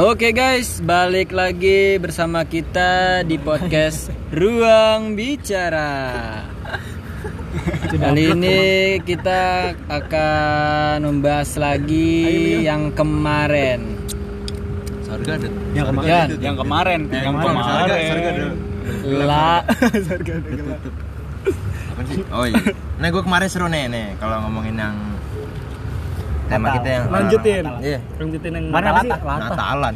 Oke guys, balik lagi bersama kita di podcast Ruang Bicara. Kali ini kita akan membahas lagi yang kemarin. Sarga ada. Yang kemarin. Yan, yang kemarin yang Sarga, Sarga kemarin ada. la Sarga ada gelar. Apa sih? Oh iya. Nah gue kemarin seru nih nih kalau ngomongin yang tema kita yang Lanjutin. Iya. lanjutin yang Mana apa sih? Natalan.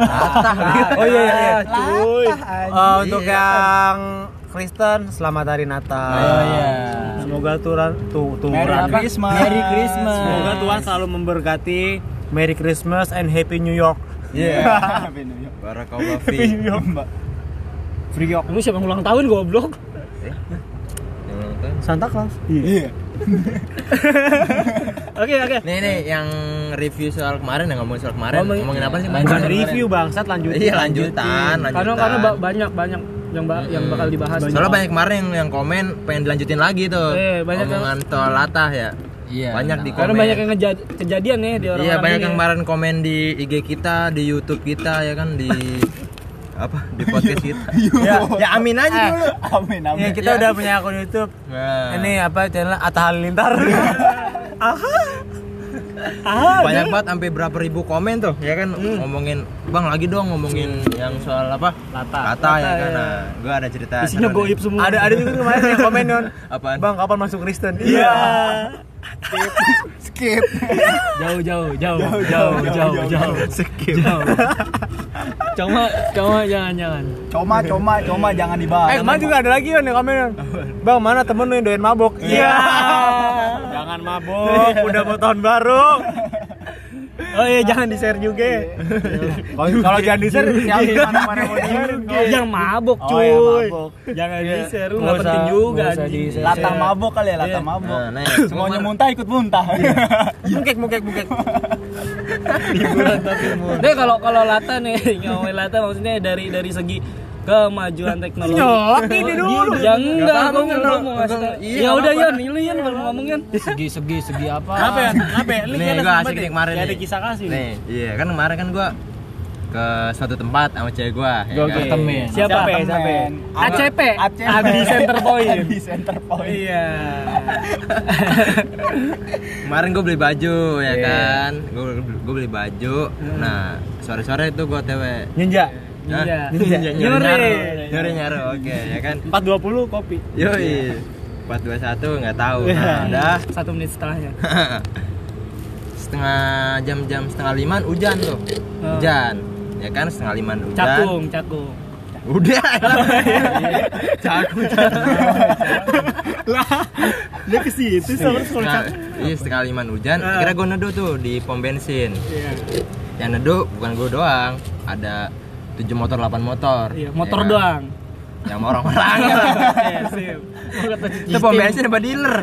Ah, Oh iya iya, iya, cuy. Oh, untuk Iya, yang Kristen, selamat hari Natal. Oh, iya. Semoga Tuhan tuh tuh Merry Tuhan- Christmas. Merry Christmas. Semoga Tuhan selalu memberkati. Merry Christmas and Happy New York. Iya. Barakallah fi. Iya, Mbak. York. lu siapa yang ulang tahun goblok Santa Claus. Iya. oke oke Nih nih yang review soal kemarin yang ngomongin soal kemarin. Ngomongin- Ngomongin apa sih? kemarin? Bukan review bangsat lanjutin. Iya lanjutan, lanjutan. karena karena ba- banyak banyak yang ba- yang bakal dibahas Iya. Soalnya banyak kemarin yang, yang komen pengen dilanjutin lagi tuh. Iya, banyak yang- Omongan soal latah ya. Iya, banyak benar. di komen. karena banyak yang ngejad- kejadian ya di orang Iya banyak yang kemarin komen di IG kita, di YouTube kita ya kan di apa di podcast kita. Ya, ya amin aja dulu. Amin Ya, amin. kita udah punya akun YouTube. Nah, Ini apa channel Atta Halilintar. Aha. banyak banget sampai berapa ribu komen tuh ya kan Hmm. ngomongin bang lagi dong ngomongin yang soal apa Lata. kata ya kan nah, gue ada cerita isinya seru nih. goib semua Ada ada juga kemarin yang komen non. Apaan? Bang kapan masuk Kristen? Iya. Skip. jauh jauh jauh Iya. jauh jauh jauh. Skip. Iya. cuma cuma jangan jangan Coma coma coma jangan Eh dibahas. kemarin juga ada lagi kan yang komen Yon. Bang mana temen lu yang doyan mabok Iya Jangan mabok Udah mau tahun baru Oh iya jangan di share juga ya. Oh, Kalau Iya. kalau jangan di share siapa mana-mana mau di share yang iya. mabok Oh, cuy yang mabok. jangan di share lu Nggak nggak penting usah- juga nggak usah anjing. di-share. Latah mabok kali ya, Iya. latah mabok. Nah, nah, Semuanya muntah ikut muntah. Mungkek mungkek mungkek Deh kalau kalau lata nih ngomongin lata maksudnya dari dari segi kemajuan teknologi. Nyolot nih dia dulu. Ya enggak, apa-apa, gua enggak Nol. mau ngasih tau. Iya, Ya udah apa-apa. Yon, lu Yon kalau mau ngomongin. Ah. Segi segi segi apa? Apa ya? Apa ya? Lu Nih, jelas gua banget asik ya. nih kemarin Gak Ada nih. kisah kasih nih. nih iya kan kemarin kan gue ke suatu tempat sama cewek gue ya Oke. kan? Temen. Siapa? Siapa ya? Siapa ya? Temen. ACP. ACP. Abi Center Point. Abi Center Point. Iya kemarin gue beli baju ya Iya. kan gue gue beli baju Hmm. nah sore sore itu gue tw Ninja Hah? Iya. nyaru Nyuri. nyaru nyaru oke ya kan 420 kopi Iya. yoi 421 nggak tahu nah udah Satu menit setelahnya. setengah jam-jam setengah lima hujan tuh Oh. hujan ya kan setengah lima hujan Cakung, cakung. udah Iya, cakung Dia ke situ sama sekolah Setengah- iya setengah lima hujan Nah. kira gue neduh tuh di pom bensin Iya. yang neduh bukan gue doang ada tujuh motor delapan motor Iya, ya motor kan? doang. yang Iya. orang-orang Oke, sip. Gua kata cuci itu pom steam. bensin apa dealer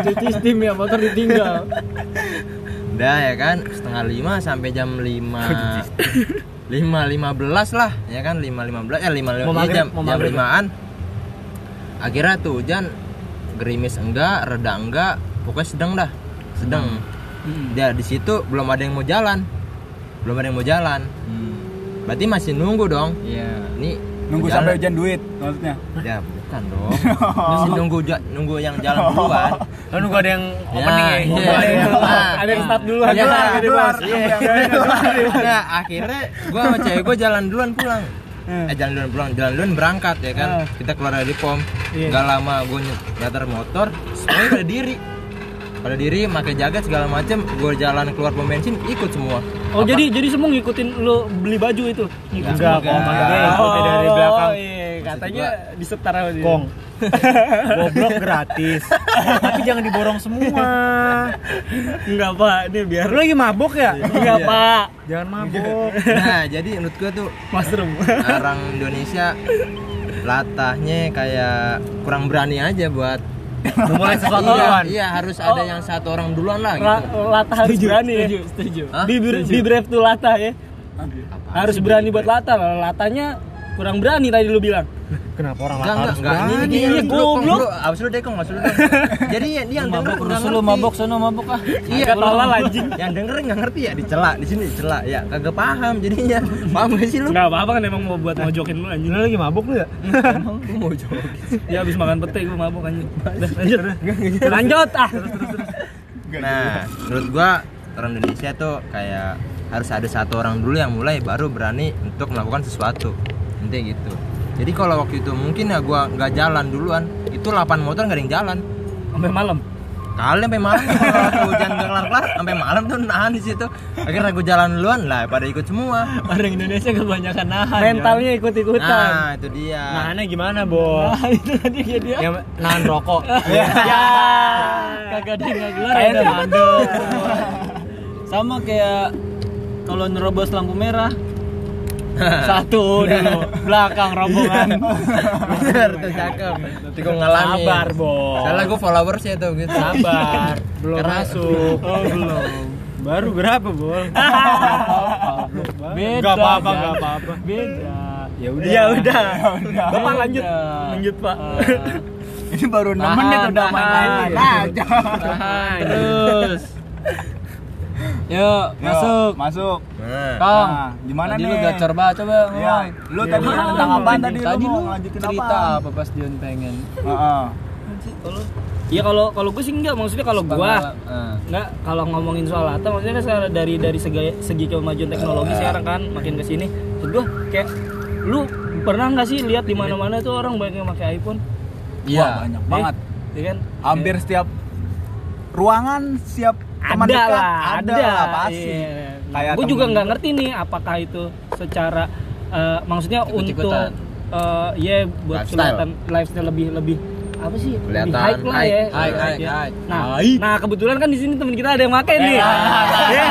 Cuci steam ya, motor ditinggal. udah ya kan setengah lima sampai jam lima lima lima belas lah ya kan lima lima belas ya lima lima Mau maghrib, jam mau jam maghrib. limaan akhirnya tuh hujan gerimis enggak reda enggak pokoknya sedang dah sedang Hmm. dia di situ belum ada yang mau jalan belum ada yang mau jalan berarti masih nunggu dong Hmm, Iya. ini Nunggu jalan- sampai hujan duit maksudnya. ya bukan dong masih nunggu ja- nunggu yang jalan duluan Kan nunggu ada yang Ya, opening ya iya. Ada yang- Ah. Ada yang start duluan Iya, Keluar, gitu, keluar. Bos. Iya. ya akhirnya gue sama cewek gue jalan duluan pulang Hmm. eh jalan duluan pulang jalan duluan berangkat ya kan kita keluar dari pom Iya. nggak lama gue nyetar motor semuanya pada diri pada diri pakai jaket segala macem gue jalan keluar pom bensin ikut semua Oh, gitu. jadi jadi semua ngikutin lu beli baju itu. Enggak, Enggak, kok enggak. enggak. Ikutin Iya, dari belakang. Oh, iya, katanya disetara sama dia. Kong. Goblok gratis. Tapi jangan diborong semua. Enggak, Pak. Ini biar Lu lagi mabok ya? Iya. Enggak, Pak. Jangan mabok. nah jadi menurut gue tuh Mushroom. orang Indonesia latahnya kayak kurang berani aja buat Memulai sesuatu iya, duluan. Oh. iya harus ada yang satu orang duluan lah gitu La- Lata harus berani ya. Hah? Be, br- be brave to Lata ya. Harus berani buat Lata. Latanya kurang berani tadi lu bilang. kenapa orang Enggak, enggak, Lata harus enggak. Ini berani? ini Iya, ini, Kong, goblok. bro. Abis lu deh, Kong, abis lu deh. Jadi yang yang denger mabok nggak rusuh lu ngerti. mabok sono mabok ah Iya, Agak tolol anjing. Yang denger nggak ngerti ya dicela, di sini dicela ya. Kagak paham jadinya. Paham gak sih lu? Enggak apa-apa kan emang mau buat mojokin lu anjing. Lu lagi mabuk lu ya? Emang gua mau jawab. Ya habis makan pete gua mabok anjing. Udah, lanjut. Lanjut ah. Nah, menurut gua orang Indonesia tuh kayak harus ada satu orang dulu yang mulai baru berani untuk melakukan sesuatu. Intinya gitu. Jadi kalau waktu itu mungkin ya gua nggak jalan duluan, itu 8 motor nggak ada yang jalan. Sampai malam. Kali sampai malam tuh kalau waktu hujan nggak kelar-kelar, sampai malam tuh nahan di situ. Akhirnya gua jalan duluan lah, pada ikut semua. Orang Indonesia kebanyakan nahan. Mentalnya ikut-ikutan. Nah, itu dia. Nahannya gimana, Bo? Ah, itu tadi ya dia. Ya, nahan rokok. Ya. Kagak ada yang nggak gelar ya. Kayak dah. mandor. sama kayak kalau nerobos lampu merah Satu dulu belakang rombongan. Bener tuh cakep. Tapi gua ngalamin. Sabar, Bo. Salah gua followers ya tuh gitu. Sabar. Belum Karena- masuk. Oh, belum. Baru berapa, Bo? Beda. Enggak apa-apa, Jan. enggak apa-apa. Beda. Ya udah. Ya udah. Bapak lanjut. Lanjut, Pak. ini baru 6 Tahan, menit udah Eh, tahan. main aja Tahan terus. Yuk, masuk. masuk Nah. Kong, Nah, gimana tadi nih lu gacor banget coba Iya, ngomong. Ya lu tadi tentang apaan tadi? Lu Tadi mau lu lanjutin cerita apaan? apa pas Dion pengen? Heeh. Iya kalau kalau gue sih enggak maksudnya kalau gua enggak kalau ngomongin soal Lata maksudnya kan sekarang dari dari segi, segi kemajuan teknologi sekarang kan makin ke sini. Maksud gua kayak lu pernah nggak sih lihat di mana-mana tuh orang banyak yang pakai iPhone? Iya. Wah, banyak banget Ya kan? hampir setiap ruangan siap teman ada dekat lah, ada, lah pasti Kayak gue temen- juga nggak ngerti nih apakah itu secara eh, maksudnya untuk Ikut-ikutan. eh, ya buat Lifestyle. kelihatan lifestyle lebih lebih apa sih? Lebih Kelihatan. hype lah Hype, ya. hype, Lebih hype, ya. hype. Nah, nah kebetulan kan di sini teman kita ada yang pakai Eh, nih. Iya, Ya, ya, ya.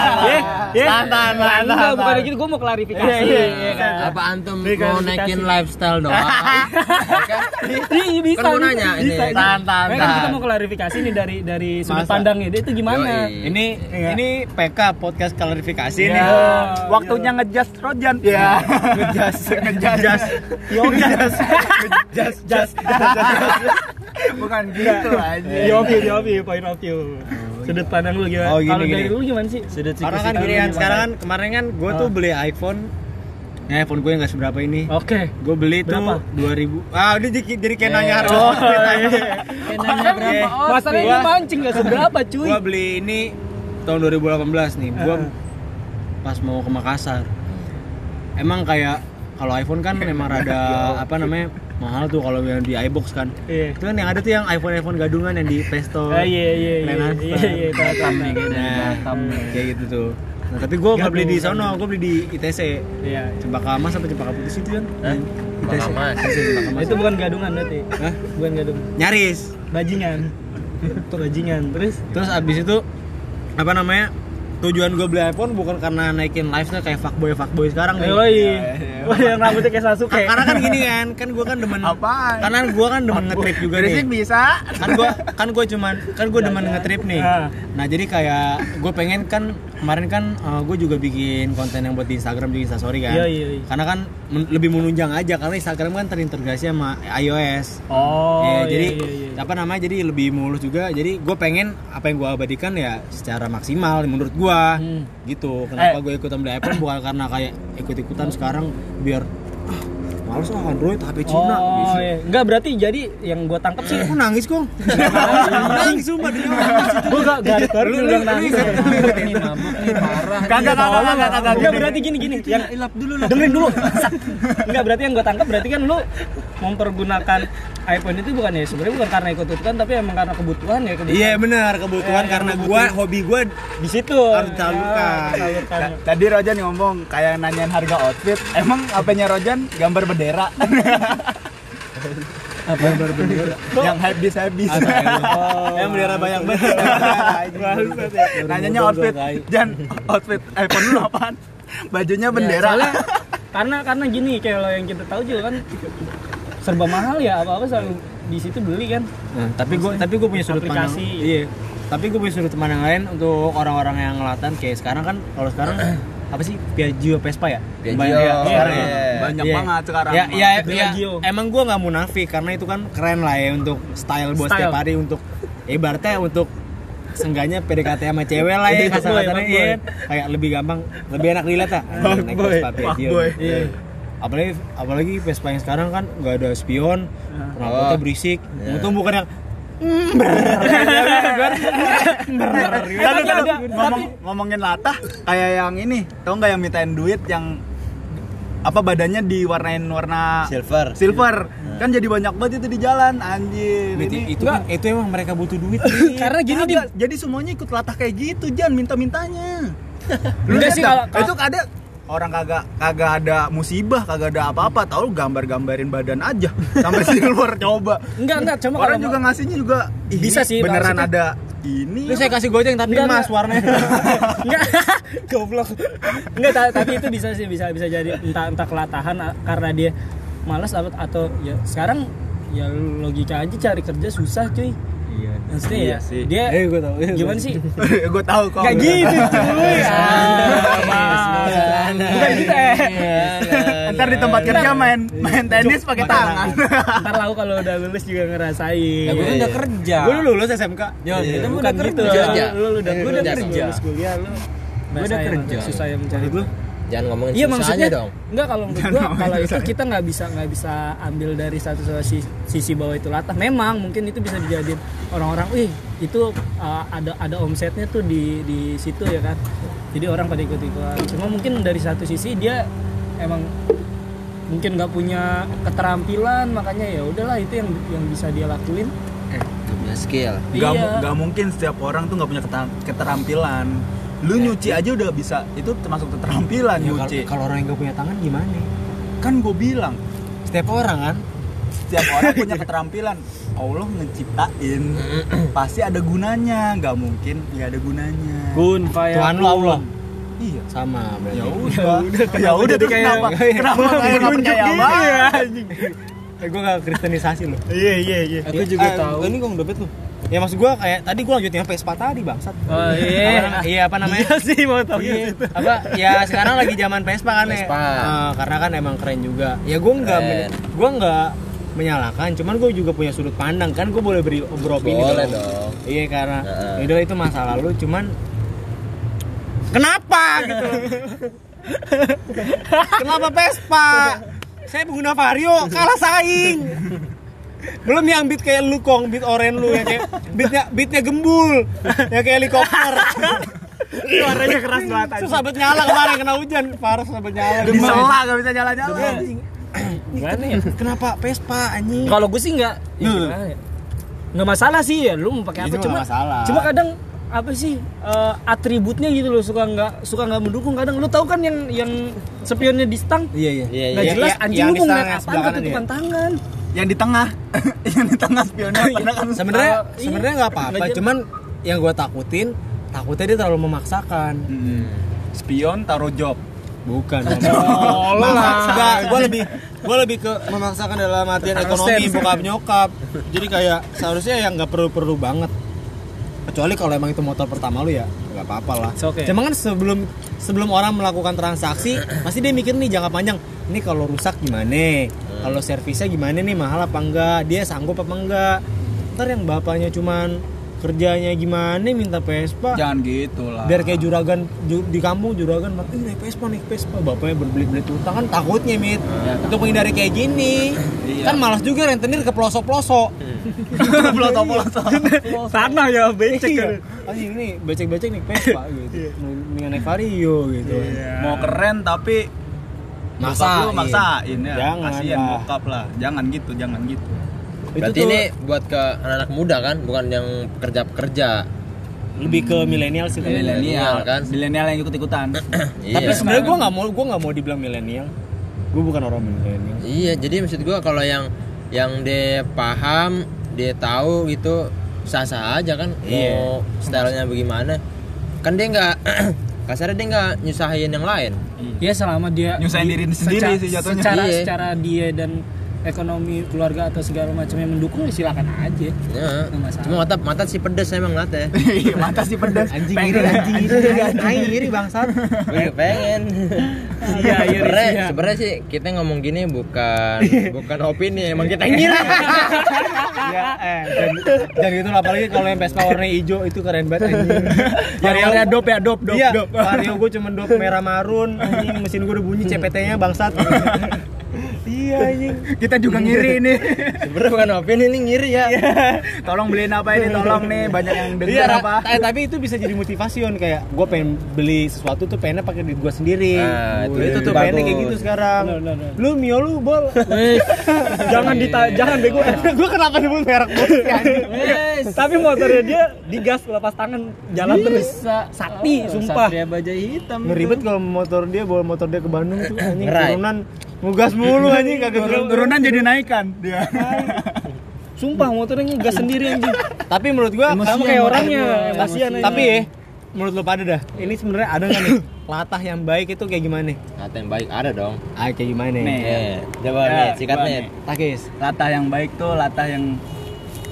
Nah, Enggak, bukan gitu, gue mau klarifikasi. Iya, iya, iya, kan? Apa antum Ini mau klarifikasi. naikin lifestyle doang? Iya, bisa. Kan gua bisa, nanya ini. bisa. Tahan, tahan, Makanya kan kita tahan. mau klarifikasi nih dari dari sudut Masa? pandangnya dia itu gimana? Yoi. Ini ini PK podcast klarifikasi Ini nih. Ya, waktunya ngejas Rojan. Iya. Ya. Ngejas, ngejas. Ngejas. Jas jas. Bukan gitu aja. Yopi, yopi, point of view. Sudut pandang lu gimana? Oh, gini, Kalau dari gini. lu gimana sih? Sudut Karena kan gini kan sekarang kan kemarin kan gue Oh. tuh beli iPhone. Ya, iPhone gue nggak seberapa ini. Oke. Gue beli Berapa? tuh 2000. Ah, ini jadi, jadi kayak nanya Oh, harga. iya. Kenanya berapa? Masalahnya Oh, ini mancing gak seberapa cuy. iya. Gue beli ini tahun 2018 nih. Gue pas mau ke Makassar. Emang kayak kalau iPhone kan memang rada apa namanya? mahal tuh kalau yang di iBox kan. Iya. Itu kan yang ada tuh yang iPhone iPhone gadungan yang di Pesto. Ah, Iya iya iya. Lenasta. Iya iya. tahu, tahu, tahu. Nah, kayak gitu tuh. Nah, tapi gue nggak beli di sono, gue beli di ITC. Iya. Cempaka Mas sampai Cempaka Putih situ kan? ITC. Mas. ITC Cempaka Mas. Itu bukan gadungan berarti. Hah? Bukan gadung. Nyaris. Bajingan. Itu bajingan. Terus Terus abis itu apa namanya? Tujuan gue beli iPhone bukan karena naikin lifestyle kayak fuckboy fuckboy sekarang nih. Yoi. Wah, yang rambutnya kayak Sasuke. Iya, Karena kan gini kan, kan gue kan demen Apaan? Karena gue kan demen ngetrip juga nih. Berisik bisa. kan gue kan gue cuman kan gue demen ngetrip nih Iya, Ah. nah jadi kayak gue pengen kan kemarin kan gue juga bikin konten yang buat di Instagram di Instastory kan Iya, iya, iya. karena kan men- lebih menunjang aja karena Instagram kan terintegrasi sama iOS Oh. iya, ya, jadi iya, iya. apa namanya jadi lebih mulus juga jadi gue pengen apa yang gue abadikan ya secara maksimal menurut gue Hmm. gitu kenapa gue ikutan beli iPhone bukan karena kayak ikut ikutan sekarang biar ah, males ah Android HP Cina Oh, gitu. iya. Enggak berarti jadi yang gua tangkap sih Aku nangis kok. nangis sumpah demi Allah. gua gak gak baru Lu- lu- bilang lu nangis. ingat- Kagak kagak kagak kagak. Enggak berarti gini gini yang ilap dulu Dengerin dulu. Enggak berarti yang gue tangkap berarti kan lu mempergunakan iPhone itu bukan ya sebenarnya bukan karena ikut ikutan tapi emang karena kebutuhan ya kebutuhan. Iya benar kebutuhan karena gua hobi gua Di situ Harus disalurkan. Ya, disalurkan. Tadi Rojan ngomong kayak nanyain harga outfit. Emang apanya Rojan gambar bendera? apa berbeda. yang Oh. habis habis. Yang bendera banyak banget. ya. Nanyanya outfit. Jan, outfit iPhone lu apaan? Bajunya Ya, bendera. soalnya karena karena gini kayak lo yang kita tahu juga kan serba mahal ya apa apa selalu di situ beli kan. Nah, tapi gua tapi gua punya sudut pandang. Aplikasi. Iya. Tapi gua punya sudut pandang lain untuk orang-orang yang ngelatan kayak sekarang kan kalau sekarang apa sih Piaggio Vespa ya Piaggio, Banyak ya, sekarang ya. iya. Banyak Iya. banget sekarang. ya, ya, Banyak. ya, Piaggio. emang gua nggak munafik karena itu kan keren lah ya untuk style buat Style. setiap hari untuk ibaratnya untuk sengganya PDKT sama cewek lah ya Iya, kasar fuckboy, katanya fuckboy. iya. kayak lebih gampang lebih enak dilihat lah naik Fuckboy, Vespa Piaggio fuckboy. Iya. apalagi apalagi Vespa yang sekarang kan nggak ada spion knalpotnya Oh. berisik Iya. untung bukan yang Iya, Tapi Tapi ada, ngomong, ngomongin latah kayak yang ini, tau nggak yang mintain duit yang apa badannya diwarnain warna Silver. silver. Kan jadi banyak banget itu di jalan anjir. Itu, Ini Nah. itu kan itu emang mereka butuh duit. Iya, Karena gini di Kagak, jadi semuanya ikut latah kayak gitu, Jan, minta-mintanya. Lu Enggak lihat sih, kalau- dah, kalau- itu ada orang kagak kagak ada musibah, kagak ada apa-apa, tahu lu gambar-gambarin badan aja sampai silver coba. enggak enggak cuma orang kalau- juga ngasihnya juga ih, Bisa ini sih, beneran maksudnya. ada ini. Lu saya kasih goceng tapi Enggak, emas enggak. warnanya. Enggak. Goblok. Enggak ta- tapi itu bisa sih bisa bisa jadi entah entah kelatahan a- karena dia malas atau, atau ya sekarang ya logika aja cari kerja susah cuy. Iya. Maksudnya ya, dia Eh, gua tahu. Iya. gimana sih? gue tahu kok. Kayak gitu cuy. Iya, Ah. Bukan gitu eh. Ntar di tempat kerja main main tenis pakai tangan. Ntar lah aku kalau udah lulus juga ngerasain. Ya, gua kan udah kerja. Gua dulu lulus SMK. Ya, Iya, itu bukan gitu. Lu kerja. lu udah Iya, lu udah kerja. kerja. Lulus kuliah lu. Gua udah ngerasain kerja. Susah yang mencari dulu. Jangan ngomongin Iya susahnya maksudnya dong. Enggak kalau menurut gua kalau itu kita nggak bisa nggak bisa ambil dari satu sisi, sisi bahwa itu latah. Memang mungkin itu bisa dijadiin orang-orang, wih itu uh, ada ada omsetnya tuh di di situ ya kan. Jadi orang pada ikut-ikutan. Cuma mungkin dari satu sisi dia emang mungkin nggak punya keterampilan makanya ya udahlah itu yang yang bisa dia lakuin. Punya skill. Gak, Iya. gak mungkin setiap orang tuh gak punya ketam- keterampilan. Lu nyuci aja udah bisa, itu termasuk keterampilan Ya, nyuci. kalau- kalau orang yang gak punya tangan gimana? Kan gue bilang, Setiap orang kan. setiap orang punya keterampilan. Allah ngeciptain, pasti ada gunanya. Gak mungkin gak ada gunanya. Gun, Tuhan lu Allah. Iya. Sama berarti. Ya udah, ya udah terus kayak- kenapa? Kenapa kayak gak percaya banget? Eh, gua gak kristenisasi lu. Iya iya iya. Aku juga tahu. Ini kok dompet lu. Ya maksud gua kayak tadi gua lanjut nyampe Vespa tadi, bangsat. Oh Apa, iya. iya apa namanya? Iya sih mau tahu Iya. apa ya sekarang lagi zaman Vespa kan ya Vespa. Eh, karena kan emang keren juga ya gue nggak Keren. men- gua nggak menyalahkan cuman gue juga punya sudut pandang kan gue boleh beri beropini Boleh dong. iya karena Heeh. ya udah itu masa lalu cuman kenapa gitu kenapa Vespa saya pengguna Vario kalah saing belum yang beat kayak lu kong beat oren lu ya kayak beatnya beatnya gembul ya kayak helikopter Suaranya keras banget. anjing. Susah banget nyala kemarin kena hujan, parah susah banget nyala. Di sela gak bisa Iya. jalan-jalan. Gimana ya? Kenapa Vespa anjing? Kalau gue sih nggak, ya Nuh. gimana ya? nggak masalah sih ya. Lu mau pakai Itu apa? nggak Cuma, masalah. cuma kadang apa sih eh, atributnya gitu loh suka nggak suka nggak mendukung kadang lu tahu kan yang yang spionnya di stang Iya iya. Iya, nggak iya. jelas iya, anjing yang lu di mau stang ngeliat yang apaan sebelah kanan ketutupan ya. tangan Yang di tengah, yang di tengah spionnya padahal kan Iya. Sebenarnya Kalau- iya. sebenarnya nggak apa-apa, Nggak jelas. cuman yang gue takutin takutnya dia terlalu memaksakan. Hmm. Spion taruh job. Bukan. Oh, Enggak, gue lebih gue lebih ke memaksakan dalam artian ekonomi bokap nyokap. Jadi kayak seharusnya yang nggak perlu-perlu banget. Kecuali kalau emang itu motor pertama lu ya nggak apa-apa lah. It's okay. Cuma kan sebelum sebelum orang melakukan transaksi pasti dia mikir nih jangka panjang. Ini kalau rusak gimana? Kalau servisnya gimana nih mahal apa enggak? Dia sanggup apa enggak? Ntar yang bapaknya cuman kerjanya gimana minta Vespa Jangan gitu lah. biar kayak juragan ju- di kampung juragan bilang, "Ih, naik Vespa naik Vespa bapaknya berbelit-belit utang kan takutnya mit untuk menghindari kayak gini kan malas juga rentenir ke pelosok pelosok pelosok pelosok tanah ya becek Iya. anjing ini becek-becek naik Vespa gitu mendingan naik Vario gitu Iya. mau keren tapi Maksain. bokap iya. lu maksain ya. Jangan Kasian lah. bokap lah. Jangan gitu, jangan gitu. itu Berarti tuh ini buat ke anak-anak muda kan, bukan yang pekerja-pekerja. lebih ke milenial sih Iya. tapi Iya, Milenial, Milenial kan? kan. Milenial yang ikut-ikutan. tapi Iya. sebenarnya gue nggak mau gue nggak mau dibilang milenial gue bukan orang milenial Iya, jadi maksud gua kalau yang yang dia paham, dia tahu gitu sah-sah aja kan. Iya. Mau stylenya bagaimana? Kan dia nggak kasarnya dia nggak nyusahin yang lain. ya selama dia Nyusahin di- diri sendiri sih jatuhnya. secara Iya. secara dia dan ekonomi keluarga atau segala macam yang mendukung ya silakan aja Ya. Nggak masalah. Cuma mata mata sih pedes emang mata ya. Iya, mata sih pedas. Anjing iri, anjing iri, anjing iri bangsat. Gue juga pengen. Iya, iri, Sebenarnya, iya. sebenarnya sih kita ngomong gini bukan bukan opini, emang kita yang iri. Ya, eh, jangan, jangan gitu lah apalagi kalau yang Vespa warna hijau itu keren banget anjing. Variannya dop ya, dop, dop, dop. Vario gue cuma dop merah marun, anjing mesin gue udah bunyi CPT-nya bangsat. iya anjing. Kita juga ngiri ini. Sebenarnya bukan opini ini ngiri ya. tolong beliin apa ini? Tolong nih, banyak yang Iya, dengar apa? ta- eh, tapi itu bisa jadi motivasiun kayak gue pengen beli sesuatu tuh pengennya pakai duit gue sendiri. Ah, itu- itu tuh pengennya bagus. kayak gitu sekarang. Benar, benar, benar. Lu mio lu bol. jangan dita jangan bego. gue kenapa nyebut merek bol sih, anjing? tapi motornya dia digas lepas tangan jalan terus sakti sumpah Satria Baja Hitam. Ngeribet kalau motor dia bawa motor dia ke Bandung tuh anjing Ngerai. turunan ngugas mulu anjing kagak Turun- Turunan jadi naikan dia. sumpah motornya ngegas sendiri anjing Tapi menurut gua Emosian kamu kayak motor orangnya gua, kasihan emosian. Tapi ya, menurut lu pada dah, ini sebenarnya ada nggak nih latah yang baik itu kayak gimana? nih? Kata yang baik ada dong. Ah kayak gimana? Nih. nih? Eh, coba Ya, nih, sikat coba nih. nih. Takis. Latah yang baik tuh latah yang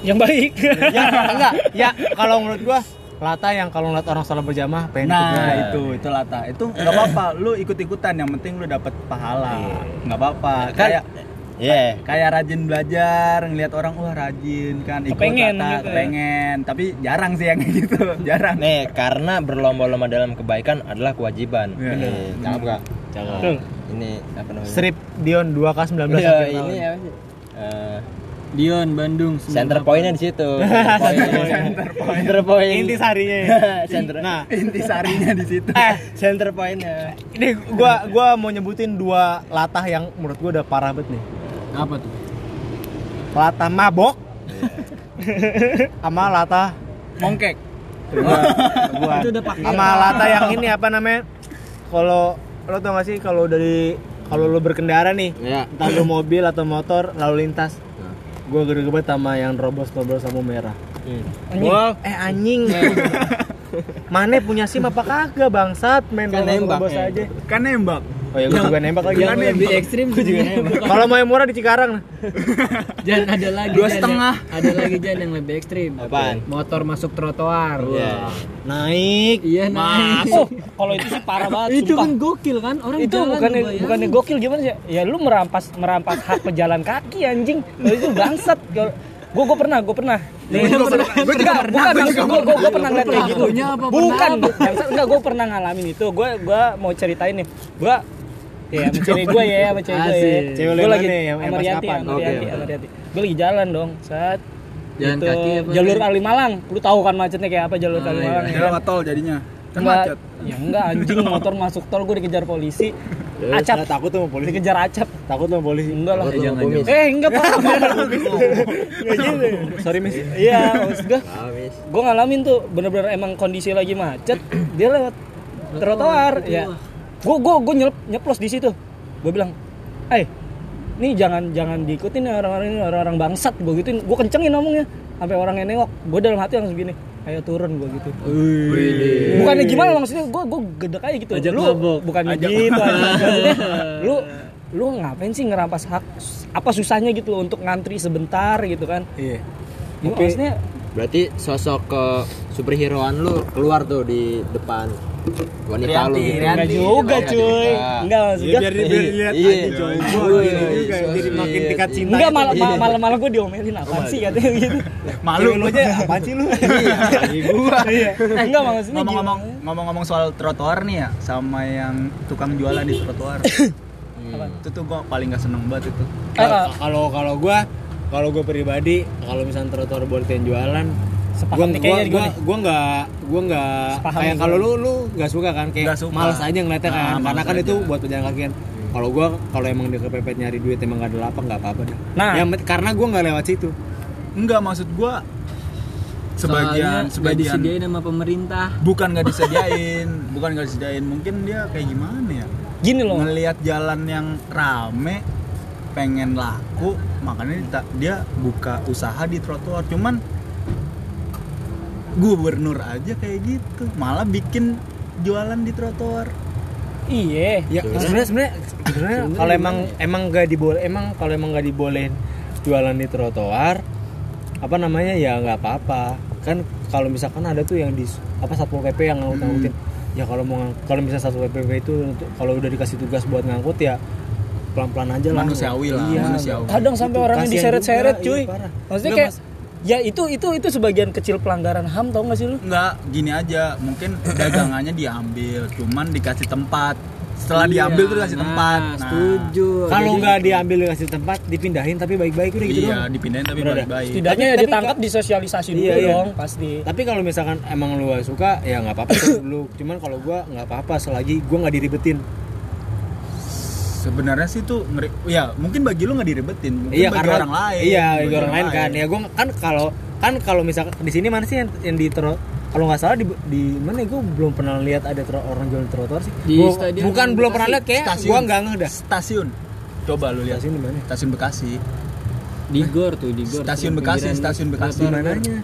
yang baik ya enggak ya kalau menurut gua lata yang kalau ngeliat orang salah berjamaah pengen ikut Nah gua. itu itu latah itu nggak apa-apa. Lu ikut ikutan yang penting lu dapet Iya. pahala. Nggak apa-apa. Kan Kayak Iya. kayak rajin belajar ngelihat orang wah rajin kan ikut Kepengen latah, gitu ya. pengen tapi jarang sih yang kayak gitu jarang Nih, karena berlomba-lomba dalam kebaikan adalah kewajiban. Iya. Ini, cakep gak? Cakep. Betul. Ini apa namanya? strip Dion 2K19 Iya, akhir tahun. ini ya. apa sih? Eh, Dion Bandung. center 98. pointnya di situ. Center point. Center point. inti sarinya Center. nah inti sarinya di situ eh Center pointnya. ini gua gua mau nyebutin dua latah yang menurut gua udah parah banget nih Apa tuh? latah mabok sama latah mongkek gua Itu udah pakai. sama latah yang ini apa namanya kalau lo tau gak sih kalau dari kalau lo berkendara nih Iya. Ya. entah lu mobil atau motor lalu lintas Nah. gue gergebet sama yang robos robos sama merah Hmm. Wow. Eh anjing. Mana punya SIM apa kagak bangsat main Kan nembak, robos-robos eh. aja. kan nembak Oh ya gue juga nembak lagi. Yang lebih ekstrim juga Kalau mau yang murah di Cikarang. Jan ada lagi. Dua Jan, setengah. yang- Ada lagi Jan yang lebih ekstrim. Apaan? Motor masuk trotoar. Iya. Naik. Iya nah. oh kalau itu sih parah banget Itu sumpah. kan gokil kan orang itu jalan bukan bayangin. bukan gokil gimana sih ya lu merampas merampas hak pejalan kaki anjing Lu itu bangsat gue gue pernah gue pernah gue pernah gue gue pernah ngeliat kayak gitu Pelakunya apa? bukan Pernah bangsat enggak gue pernah ngalamin itu gue gue mau ceritain nih gue ya sama cewek gue ya sama cewek gue ya Asik. Cewek lu gue yang lagi mana nih, yang- yang sama pas Rianti kapan? sama Oke, Rianti oke. sama Rianti gue lagi jalan dong saat Jalan gitu, kaki apa jalur nih? Kalimalang lu tahu kan macetnya kayak apa jalur Kalimalang ya Ah, iya. jalan tol jadinya kan Enggak, macet ya enggak anjing motor masuk tol gue dikejar polisi Nah, acap takut tuh sama polisi. dikejar acap Takut tuh sama polisi. enggak lah Gua tuh kumis. eh enggak pak Nggak gitu. Sorry miss. iya maksud gue Habis. gue ngalamin tuh bener-bener emang kondisi lagi macet dia lewat trotoar ya gue gue gue nyelp nyeplos di situ gue bilang eh nih jangan jangan diikutin ya orang-orang ini orang-orang bangsat gue gituin gue kencengin ngomongnya sampai orangnya nengok gue dalam hati langsung gini ayo turun gue gitu bukannya gimana maksudnya gue gue gedek aja gitu Ajak lu mabok. bukannya gitu maksudnya lu lu ngapain sih ngerampas hak apa susahnya gitu loh untuk ngantri sebentar gitu kan Iya. Gua Oke. maksudnya Berarti sosok ke superheroan lu keluar tuh di depan wanita lu. Rianti, gitu. Rianti. Enggak juga "Oh, Enggak cuy. juga. Enggak maksud Iya, gua. biar biar lihat Iya. aja coy. Iya. Gua Iya. gini juga Iya. jadi makin tingkat Iya. cinta. gitu. Enggak itu. malah Iya. malah malah malah gue diomelin apaan sih katanya gitu. Iya. Iya, Malu lu aja apaan sih lu? Iya. gua. Iya. Enggak maksudnya ngomong-ngomong gimana? ngomong-ngomong soal trotoar nih ya sama yang tukang jualan di trotoar Hmm. itu tuh gua paling nggak seneng banget itu Kalau kalau kalau gua kalau gua pribadi kalau misalnya trotoar boleh yang jualan Sepakat nih gua gua kayaknya gua gua gua nggak gua nggak Sepaham kayak nih kalau gua. lu lu nggak suka kan kayak Nggak suka. males aja ngeliatnya Nah, Ah, kan karena males kan aja. itu buat pejalan kaki kan kalau gua kalau emang dia kepepet nyari duit emang gak ada lapang nggak apa-apa deh Nah. yang penting- karena gua nggak lewat situ enggak maksud gua sebagian Soalnya nggak sebagian disediain sama pemerintah. bukan nggak disediain bukan nggak disediain mungkin dia kayak gimana ya Gini gitu loh. ngelihat jalan yang rame pengen laku makanya dita- dia buka usaha di trotoar cuman gubernur aja kayak gitu malah bikin jualan di trotoar Iya. Ya, sebenarnya sebenarnya sebenarnya kalau emang ya? emang nggak diboleh emang kalau emang nggak dibolehin jualan di trotoar apa namanya ya nggak apa-apa kan kalau misalkan ada tuh yang di apa satpol pp yang Hmm. ngangkut ngangkutin ya kalau mau ngang- kalau misalnya satpol pp itu untuk- kalau udah dikasih tugas buat ngangkut ya pelan-pelan aja lah Manusiawi lah, Iya, manusiawi. Kadang sampai Gitu. orangnya Kasian diseret-seret, juga, cuy. iya, parah. Maksudnya Enggak, kayak ya itu itu itu sebagian kecil pelanggaran HAM tau gak sih lu? Iya. Enggak, gini aja. Mungkin dagangannya diambil, cuman dikasih tempat. Setelah Iya, diambil tuh dikasih tempat. Nah, kalau nggak diambil dikasih tempat dipindahin tapi baik-baik udah gitu Iya, doang. dipindahin tapi Udah, udah. baik-baik. Setidaknya Tapi- ya tapi ditangkap disosialisasi dulu Iya, iya. dong pasti. tapi kalau misalkan emang lu gak suka ya nggak apa-apa terus dulu cuman kalau gua nggak apa-apa selagi gua nggak diribetin Sebenarnya sih tuh ngeri- ya mungkin bagi lu nggak direbetin, mungkin iya bagi karena orang lain. iya bagi orang lain kan ya gua kan kalau kan kalau misalkan di sini mana sih yang, yang di tro- kalau nggak salah di, di mana ya, gua belum pernah lihat ada tro- orang jualan di trotoar sih Di Gua- stadion bukan belum pernah lihat kayak Stasiun. Eh, Iya, gua nggak ngeh dah Stasiun. Coba lu lihat Stasiun di mana? Stasiun Bekasi. Di gor tuh, di gor. Stasiun Bekasi, stasiun Bekasi. Di mananya?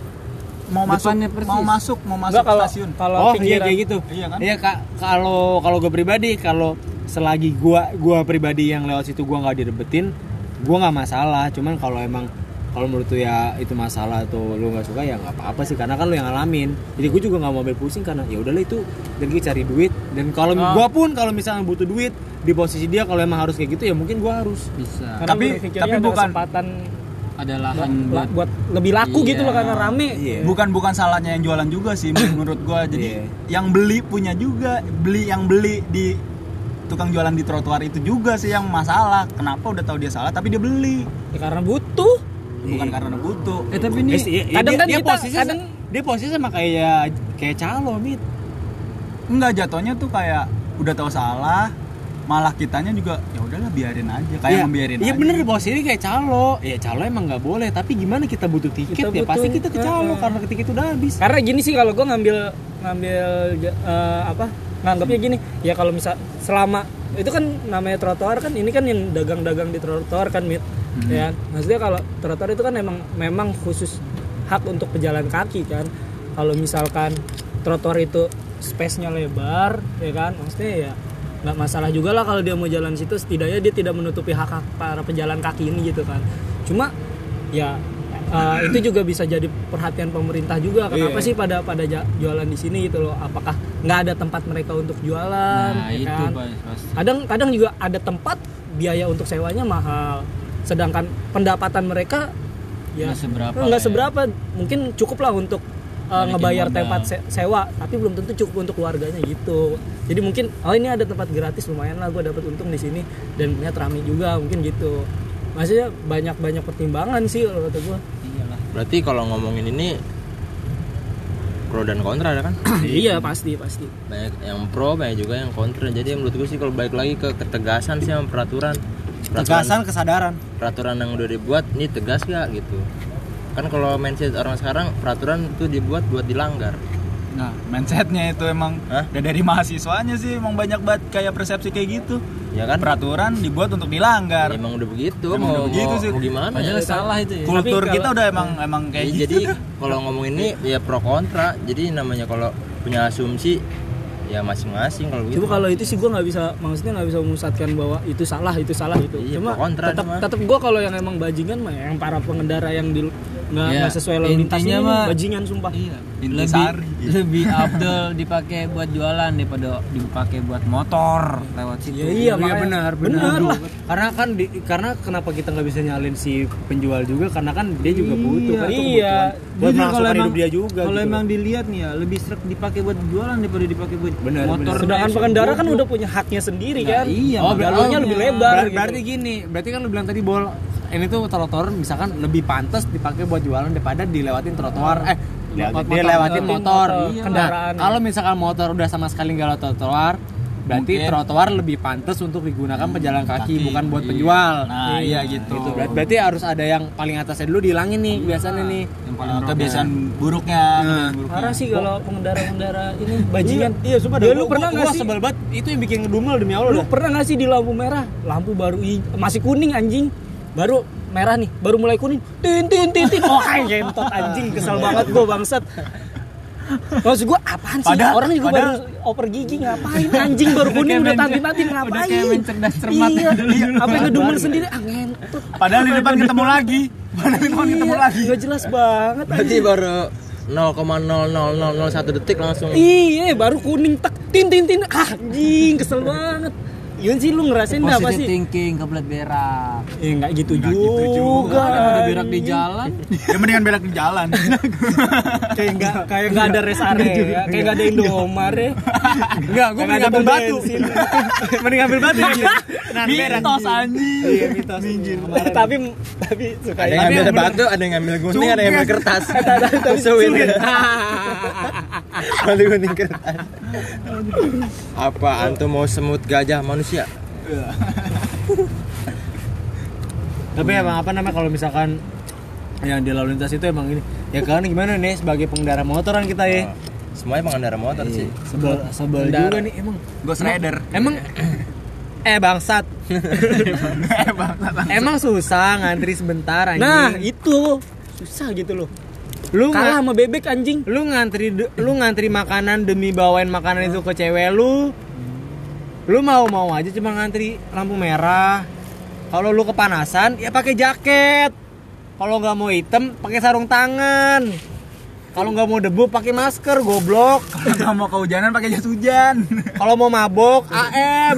Mau masuk, Depannya persis. mau masuk, mau masuk Enggak kalau stasiun. kalau Oh iya pinggiran kayak gitu. Iya kan? Kak. kalau kalau gue pribadi kalau selagi gua gua pribadi yang lewat situ gua nggak direbetin, gua nggak masalah. Cuman kalau emang kalau menurut tuh ya itu masalah atau lu nggak suka ya nggak apa-apa sih karena kan lu yang ngalamin. Jadi gue juga nggak mau ambil pusing karena ya udahlah itu dan gue cari duit dan kalau Ah. gua pun kalau misalnya butuh duit di posisi dia kalau emang harus kayak gitu ya mungkin gua harus. Bisa. Karena Tapi- berpikirnya tapi ada bukan- Hmm, kesempatan Ada buat, lahan buat buat lebih laku Iya. gitu loh karena rame. Iya. Bukan bukan salahnya yang jualan juga sih menurut gua. Jadi yang beli punya juga, beli yang beli di tukang jualan di trotoar itu juga sih yang masalah. Kenapa udah tahu dia salah tapi dia beli? Ya, karena butuh. Iya. Bukan karena butuh. Eh tapi ini Eh, sih, ya, kadang dia- kan dia kita- posisinya- kadang- dia posisi sama kayak kayak calo mit. Enggak jatuhnya tuh kayak udah tahu salah malah kitanya juga ya udahlah biarin aja Nah, kayak Iya, membiarin Iya aja. bener bos ini kayak calo. Ya calo emang nggak boleh. Tapi gimana kita butuh tiket Kita ya butuh, pasti kita ke calo eh, eh. karena ketika itu udah habis. Karena gini sih kalau gua ngambil ngambil eh, apa? nganggapnya gini. Ya kalau misal selama itu kan namanya trotoar kan ini kan yang dagang-dagang di trotoar kan mit. Ya, maksudnya kalau trotoar itu kan memang memang khusus hak untuk pejalan kaki kan. Kalau misalkan trotoar itu space-nya lebar, ya kan? Maksudnya ya nggak masalah juga lah kalau dia mau jalan situ setidaknya dia tidak menutupi hak hak para pejalan kaki ini gitu kan cuma ya eh, itu juga bisa jadi perhatian pemerintah juga kenapa Iya. sih pada pada ja- jualan di sini gitu loh apakah nggak ada tempat mereka untuk jualan nah ya itu kan? Pak, pasti. kadang kadang juga ada tempat biaya untuk sewanya mahal sedangkan pendapatan mereka ya Nggak seberapa lah nggak ya. seberapa mungkin cukup lah untuk uh, Balikin ngebayar modal. tempat se- sewa tapi belum tentu cukup untuk keluarganya gitu jadi mungkin oh ini ada tempat gratis lumayan lah gue dapat untung di sini dan ternyata rame juga mungkin gitu maksudnya banyak banyak pertimbangan sih kalau kata gue Berarti kalau ngomongin ini pro dan kontra ada kan? iya pasti pasti banyak yang pro banyak juga yang kontra. Jadi menurut gue sih kalau balik lagi ke ketegasan sih sama peraturan. Peraturan, Tegasan kesadaran. peraturan yang udah dibuat ini tegas gak gitu. Kan kalau mindset orang sekarang peraturan itu dibuat buat dilanggar. Nah, mindsetnya itu emang Hah? udah dari mahasiswanya sih emang banyak banget kayak persepsi kayak gitu. Ya kan? Iya, Peraturan dibuat untuk dilanggar. Emang udah begitu, Emang mau, udah begitu mau- sih. mau gimana? Padahal ya? salah itu iya. ya. Kultur Tapi kita kalau- udah emang emang kayak Ya, gitu. jadi kalau ngomong ini ya pro kontra. Jadi namanya kalau punya asumsi ya masing-masing kalau gitu. Cuma kalau itu sih gue nggak bisa, maksudnya nggak bisa memusatkan bahwa itu salah, itu salah gitu. Iya, Cuma kontra tetap cuma. tetap gue kalau yang emang bajingan mah ya, yang para pengendara yang di nggak Iya, nggak sesuai lalu lintas ini intinya nih, mah- bajingan sumpah. Iya. Intisari. Lebih lebih Abdul dipakai buat jualan daripada dipakai buat motor lewat situ. Iya, iya, makanya. benar, Benar lah. Karena kan di- karena kenapa kita nggak bisa nyalin si penjual juga karena kan dia juga butuh kan itu Iya. kebutuhan buat melangsungkan hidup dia juga. kalau gitu. emang dilihat nih ya lebih sering dipakai buat jualan daripada dipakai buat Benar, motor. benar. Sedangkan pengendara kan udah punya haknya sendiri Nah, kan. iya, oh, makanya. jalurnya lebih lebar. gitu. Ber- Berarti gini, berarti kan lu bilang tadi bol ini tuh trotoar misalkan lebih pantas dipakai buat jualan daripada dilewatin trotoar eh Lewat motor. dia lewatin Lewatin motor. motor, iya, Nah, kendaraan. kalau misalkan motor udah sama sekali nggak lewat trotoar, berarti trotoar lebih pantas untuk digunakan Hmm, pejalan kaki, bukan buat penjual. Nah, iya gitu. Gitu. Berarti, berarti harus ada yang paling atasnya dulu dihilangin nih Iya. biasanya nih. Yang paling Nah, kebiasaan buruknya. kebiasaan buruknya. Parah sih kalau pengendara-pengendara ini bajingan. Iya, sumpah. Ya, dah. lu Gua- pernah gua- nggak gua sih? sebel banget itu yang bikin ngedumel demi Allah Lu dah. pernah nggak sih di lampu merah? Lampu baru hij- masih kuning anjing. Baru merah nih, baru mulai kuning. Tin tin tin tin. Oh, anjing, entot anjing, kesel banget gua bangsat. Maksud gua apaan sih? Padahal- Orang juga padahal- baru oper gigi ngapain? Anjing baru kuning udah tantin-tantin ngapain? udah kayak main cerdas cermat iya, dulu. iya. Apa yang ngedumun sendiri? Ah ngentut. Padahal di depan ketemu lagi. Padahal di depan ketemu lagi. Gak Iya, jelas banget. Berarti baru 0,00001 detik langsung. Iya, baru kuning tek tin tin tin. Ah, anjing kesel banget. Yun sih lu ngerasain dah apa Positive sih? thinking, kebelet berak. Eh enggak gitu Nah, gitu juga. Ada berak di jalan. Ya mendingan belak di jalan. Kayak enggak kayak enggak ada res area, ya. kayak enggak ada Indomaret. Enggak, Karena gue mending ada pom ambil batu. bensin. mending ambil batu. Mitos anjing. Iya, mitos. Minjir. tapi tapi suka Ada yang tapi- ngambil batu, ada yang ngambil gunting, ada yang ngambil kertas. Musuhin. Ngambil gunting kertas. Apa antum mau semut gajah manusia? Tapi emang apa namanya kalau misalkan yang di lalu lintas itu emang ini ya kalian gimana nih sebagai pengendara motoran kita ya Semuanya pengendara motor sih. sebel sebel juga nih emang Ghost Rider. emang eh bangsat eh, emang susah ngantri sebentar anjing Nah, itu susah gitu loh. lu Kalah nggak- sama bebek anjing. lu ngantri de- lu ngantri makanan demi bawain makanan itu ke cewek lu lu mau mau aja cuma ngantri lampu merah kalau lu kepanasan ya pakai jaket kalau nggak mau hitam pakai sarung tangan kalau nggak mau debu pakai masker goblok Kalau mau kehujanan pakai jas hujan. kalau mau mabok am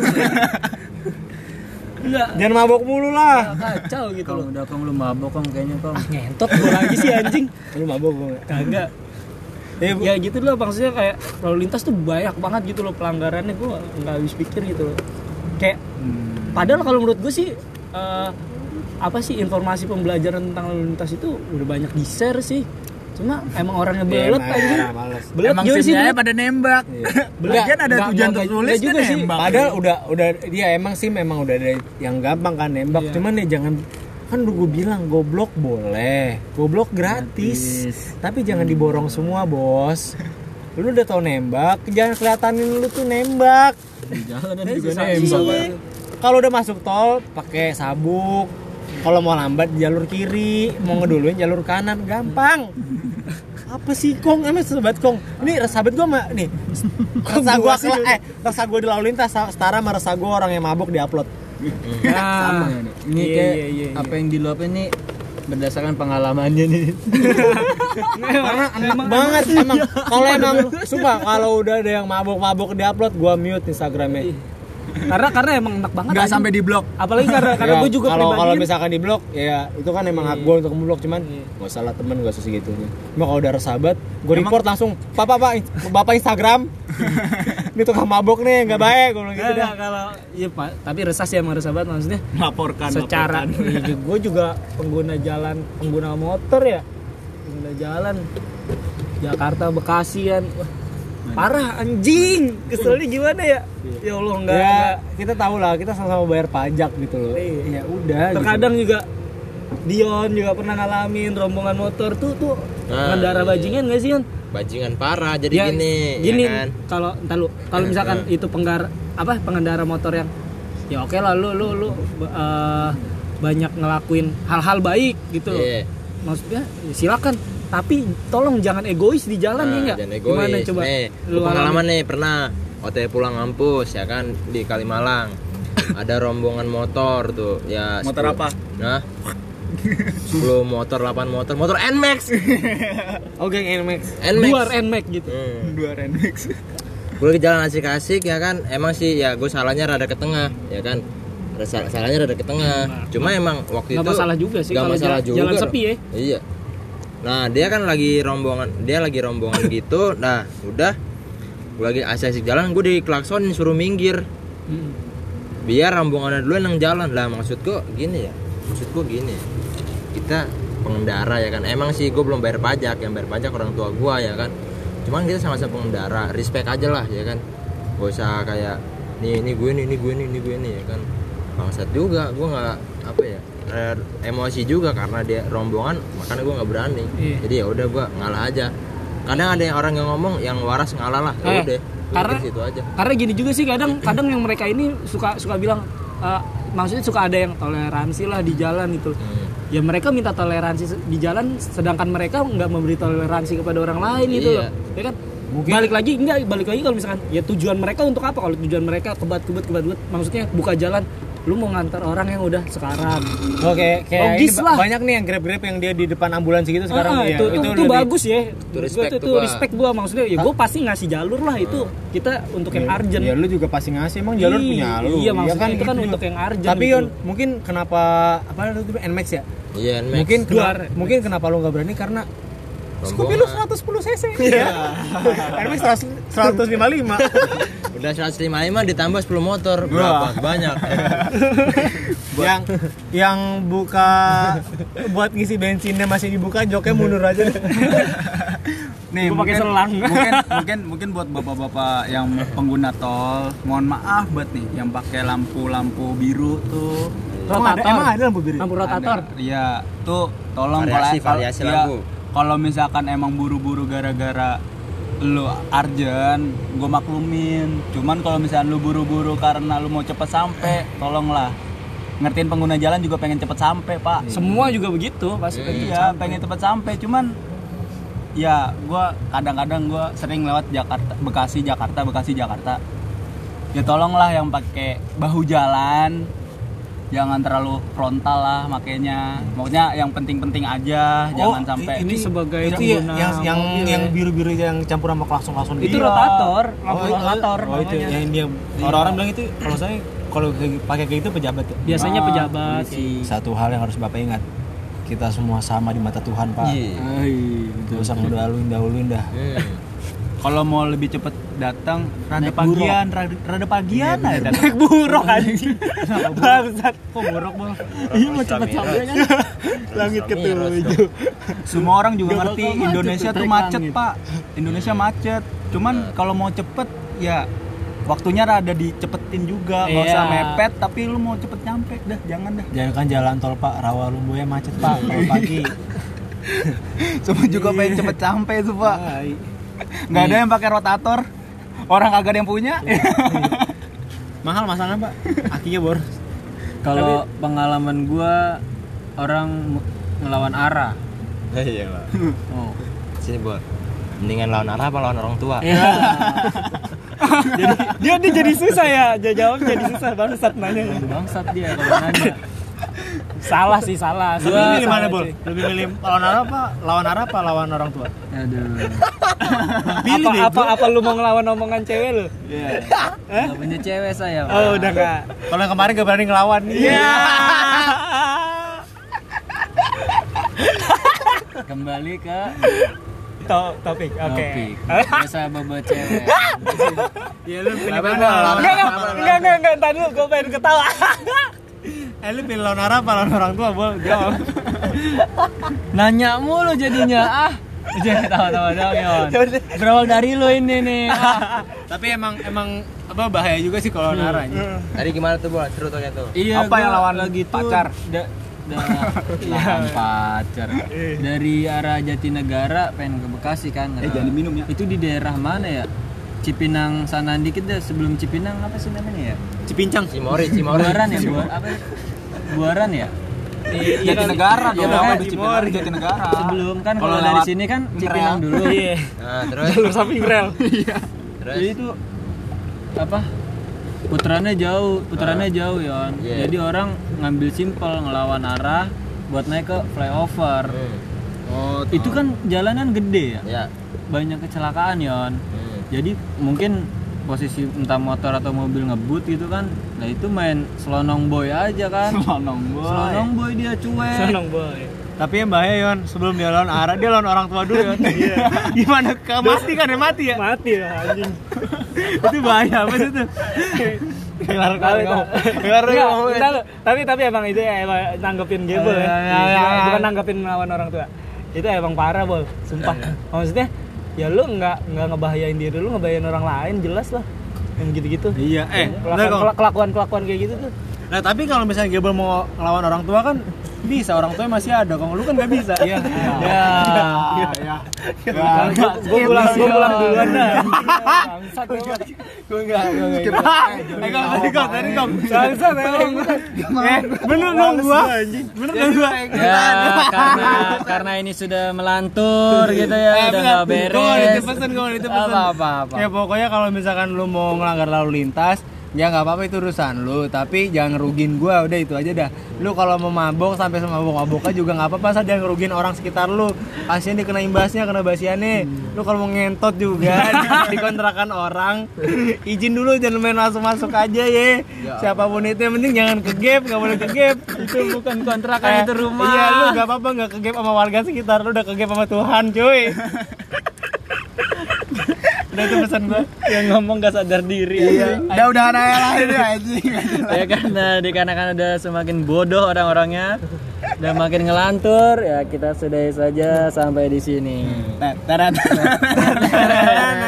Enggak. jangan mabok mulu lah Kacau gitu loh. Ah, Kalau udah kamu lu mabok kamu kayaknya kamu. Ngentot gua lagi sih anjing. lu mabok gue Kagak. Eh, Ya gitu loh maksudnya kayak lalu lintas tuh banyak banget gitu loh pelanggarannya gua nggak habis pikir gitu loh. Kayak padahal kalau menurut gue sih eh, apa sih informasi pembelajaran tentang lalu lintas itu udah banyak di share sih. Cuma emang orangnya Iya, belet anjing. Belet Emang Joy sih simnya belet. pada nembak. Lagian ada Nggak, tujuan nggak, tertulis nggak juga juga sih. nembak. Padahal udah udah dia emang sih memang udah ada yang gampang kan nembak. Iya. Cuman ya jangan kan udah gue bilang goblok boleh, goblok gratis. Tapi jangan diborong semua, Bos. Lu udah tau nembak, jangan kelihatanin lu tuh nembak. Di jalan dan Eh, juga susah nembak. sih. Kalau udah masuk tol, pakai sabuk. Kalau mau lambat di jalur kiri, mau ngeduluin jalur kanan, gampang. Apa sih Kong? Emang sahabat Kong? Ini sahabat gua mah nih. Rasa gua kela- eh rasa gua di lalu lintas sa- setara sama rasa gua orang yang mabuk di upload. Sama ya, nih. Ini Iya, kayak iya, iya, iya. apa yang diluapin nih berdasarkan pengalamannya nih. Karena enak banget emang. Kalau emang sumpah kalau udah ada yang mabuk-mabuk di upload, gua mute Instagramnya. Karena karena emang enak banget. Nggak anjing. sampai di blok. Apalagi karena karena Ya, gue juga kalau kalau pribadi. Iya. misalkan di blok ya itu kan emang hak gue untuk memblok cuman nggak salah temen gak usah segitunya cuma kalau udah sahabat gue report langsung pak pak pak bapak Instagram ini tukang mabok nih nggak baik gue bilang gitu dah Kan, Nggak, Nah, kalau iya Pak, tapi resah sih emang resah banget maksudnya. Laporkan secara gue juga pengguna jalan pengguna motor ya pengguna jalan Jakarta Bekasi kan Wah, Nah. parah anjing keselnya gimana ya ya Allah enggak, ya enggak. kita tahu lah kita sama-sama bayar pajak gitu loh Iya. ya udah gitu. terkadang juga Dion juga pernah ngalamin rombongan motor tuh tuh Nah, ngendara iya. bajingan gak sih kan Bajingan parah jadi Ya, gini, gini ya kan? kalau entar lu kalau misalkan itu penggar apa pengendara motor yang ya oke lah lu lu lu eh, banyak ngelakuin hal-hal baik gitu Iya. maksudnya ya silakan tapi tolong jangan egois di jalan ya Nah, nggak jangan egois. gimana coba Nih, Lu pengalaman alamin. nih pernah OTW pulang kampus ya kan di Kalimalang. Ada rombongan motor tuh ya. Motor apa? Nah. 10 motor, 8 motor, motor Nmax. oh geng NMAX Nmax. luar nmax gitu Hmm. Dua remix. gue lagi jalan asik-asik ya kan emang sih ya gue salahnya rada ke tengah ya kan Rada- sal- salahnya rada ke tengah cuma emang waktu Nah. nggak itu masalah juga sih nggak kalau masalah jalan, juga jalan sepi ya iya nah dia kan lagi rombongan dia lagi rombongan gitu nah udah gue lagi asik-asik jalan gue diklaksonin suruh minggir Mm. biar rombongannya dulu yang jalan lah maksud gua gini ya maksud gua gini kita pengendara ya kan emang sih gue belum bayar pajak yang bayar pajak orang tua gua ya kan cuman kita sama-sama pengendara respect aja lah ya kan gak usah kayak nih ini gue nih ini gue nih ini gue nih ya kan bangsat juga gua nggak apa ya eh, emosi juga karena dia rombongan makanya gua nggak berani Iya. jadi ya udah gua ngalah aja kadang ada yang orang yang ngomong yang waras ngalah lah ya Eh, udah gua karena- di situ aja karena gini juga sih kadang kadang yang mereka ini suka suka bilang eh, maksudnya suka ada yang toleransi lah di jalan gitu Hmm. ya mereka minta toleransi se- di jalan sedangkan mereka nggak memberi toleransi kepada orang lain gitu Iya. loh ya kan balik lagi enggak balik lagi kalau misalkan ya tujuan mereka untuk apa kalau tujuan mereka kebat kebat kebat kebat maksudnya buka jalan lu mau ngantar orang yang udah sekarang Oke, kayak Logis ini ba- lah. banyak nih yang grab-grab yang dia di depan ambulans gitu Ah, sekarang ya. itu, itu, itu lebih- bagus ya Menurut gua respect itu, tuh, itu Pak. respect gua maksudnya ya gua pasti ngasih jalur lah itu kita untuk yang urgent Ya lu juga pasti ngasih emang jalur Iya, punya lu. iya, maksudnya itu kan gitu. untuk yang urgent Tapi gitu. Yon, mungkin kenapa apa itu Nmax ya? Iya, Nmax. Mungkin kena- Luar. mungkin kenapa lu nggak berani karena Rombongan. Scoopy lu 110 cc. Iya. Nmax 155. Udah 155 ditambah 10 motor. Berapa? Banyak. Iya, yang yang buka buat ngisi bensinnya masih dibuka joknya mundur aja deh. Nih, Gua pakai mungkin, selang. mungkin mungkin mungkin buat bapak-bapak yang pengguna tol, mohon maaf buat nih yang pakai lampu-lampu biru tuh. Emang ada- rotator emang ada lampu biru? lampu rotator Ada. Iya, tuh tolong Variasi- kalau- variasi iya, lampu. Kalau misalkan emang buru-buru gara-gara lu arjen, gue maklumin. Cuman kalau misalkan lu buru-buru karena lu mau cepet sampai, tolonglah. Ngertiin pengguna jalan juga pengen cepet sampai, Pak. semua juga begitu pasti Iya, pengen cepet sampai, cuman ya gua kadang-kadang gua sering lewat Jakarta, Bekasi, Jakarta, Bekasi, Jakarta. Ya tolonglah yang pakai bahu jalan, jangan terlalu frontal lah makainya. Maunya yang penting-penting Oh, aja, jangan sampai. ini sebagai itu ya, pengguna yang yang mobil yang ya. biru-biru yang campur sama klakson-klakson itu Iya. gitu. rotator Oh, lampu itu- rotator oh, itu namanya. yang dia orang-orang bilang itu kalau saya kalau kayak- pakai kayak gitu pejabat ya. biasanya Ah, pejabat Satu hal yang harus Bapak ingat. Kita semua sama di mata Tuhan, Pak. Iya. Gak usah ngedahuluin dahuluin dah. Hmm. Kalau mau lebih cepet datang, rada ya. pagian, rada, rada pagian aja datang. Naik buruk anjing. Bangsat. Kok borok bang? Iya mau cepet sampai kan. Langit ketemu hijau. Semua orang juga Gak ngerti bakal macet Indonesia tuh, Nah. tuh trek macet, langit. Pak. Indonesia macet. Cuman kalau mau cepet ya waktunya rada dicepetin juga, nggak usah Iya. mepet tapi lu mau cepet nyampe dah, jangan dah. Jangan kan jalan tol Pak Rawalumbu ya macet Pak kalau pagi. Iya. Semua juga pengen cepet sampai tuh, Pak. Nggak ada yang pakai rotator. Orang kagak ada yang punya. Iya. Mahal masalahnya Pak. Akinya bor. Kalau pengalaman gua orang mu- ngelawan arah. Ya iyalah. Oh. Sini, Bor. Mendingan lawan arah apa lawan orang tua? Iya. dia dia jadi susah ya dia jawab jadi susah baru saat nanya Bangsat dia kalau nanya. salah sih salah Lebih Salah, milih mana salah, bor? cuy. Lebih milih lawan arah apa? Lawan arah apa lawan orang tua? Aduh. Pilih apa apa bego. apa lu mau ngelawan omongan cewek lu Gak punya cewek saya. Pak. Oh udah enggak. Kalau yang kemarin gak berani ngelawan. Iya. Kembali ke To- Topik. Oke. topik. Biasa bawa cewek. Ya lu pilih Lawan mana? arah, lawan arah, Enggak, enggak. lawan enggak enggak enggak entar dulu gue pengen ketawa Eh lu pilih lawan arah apa lawan orang tua? Bol jawab. Nanya mulu jadinya ah. Jangan ketawa-tawa dong, Yon. Berawal dari lu ini nih. Ah. Tapi emang emang apa bahaya juga sih kalau lawan arah. anjing. Tadi gimana tuh, Bor? Seru tuh kayak tuh. Iya, Apa yang gua lawan lagi tuh pacar? da- da- lawan pacar. Dari arah Jatinegara pengen ke Bekasi kan. Eh, jangan diminum ya. Itu di daerah mana ya? Cipinang sana dikit deh sebelum Cipinang apa sih namanya ya? Cipincang. Si Mori, si Mori. Buaran ya, buar apa? Buaran ya? Jatinegara Iya, dong, makanya udah Cipinang, Jatinegara. Iya. Sebelum kan kalau Ah. Kalau dari lewat sini kan rel. Cipinang dulu. Nah, terus samping rel. terus Jadi itu apa? Putarannya jauh, putarannya jauh, Yon. Iya. Jadi orang ngambil simpel ngelawan arah buat naik ke flyover. Hmm. Oh, Itu kan jalanan gede ya. Ya. Banyak kecelakaan, Yon. Hmm. Jadi mungkin posisi entah motor atau mobil ngebut gitu kan. Nah, itu main selonong boy aja kan. Selonong boy. selonong boy dia cuek. seneng boy Tapi yang bahaya Yon, sebelum dia lawan arah, dia lawan orang tua dulu Yon. Gimana? Ke mati kan ya mati ya? mati lah anjing itu bahaya apa sih itu? Kelar tapi kali kamu. Kelar kali Enggak, kamu. bentar lu. tapi tapi emang itu ya, emang nanggepin gebel ya. Ya, ya, ya, ya. Bukan nanggepin melawan orang tua. Itu emang parah, Bol. Sumpah. Maksudnya ya lu nggak nggak ngebahayain diri lu, ngebahayain orang lain jelas lah. Yang gitu-gitu. Iya, eh, Kelakuan- bentar kamu. kelakuan-kelakuan kayak gitu tuh. Nah tapi kalau misalnya Gebel mau ngelawan orang tua kan bisa orang tua masih ada kalau lu kan nggak bisa iya Ya. iya gue pulang gue pulang duluan dah Iya, Gue enggak, gue enggak. Eh, Kong, tadi kok tadi kok bangsat emang Eh, bener dong gua bener dong gua Ya, karena karena ini sudah melantur gitu ya, udah nggak Eh, Gua beres. itu pesen gua itu pesen Apa apa apa. ya pokoknya kalau misalkan lu mau ngelanggar lalu lintas ya nggak apa-apa itu urusan lu tapi jangan ngerugin gua udah itu aja dah lu kalau mau mabok sampai sama mabok maboknya juga nggak apa-apa asal jangan ngerugin orang sekitar lu Pastinya dikena imbasnya kena basiannya lu kalau mau ngentot juga di- dikontrakan orang izin dulu jangan main langsung masuk aja Ya ye siapapun itu yang penting jangan ke gap nggak boleh ke gap itu bukan kontrakan Eh, itu rumah. iya lu nggak apa-apa nggak ke gap sama warga sekitar lu udah ke gap sama Tuhan cuy udah itu pesan gua Yang ngomong gak sadar diri. Udah udah aja lah ini anjing. ya karena dikarenakan udah semakin bodoh orang-orangnya dan makin ngelantur ya kita sudahi saja sampai di sini. Teret. Nah,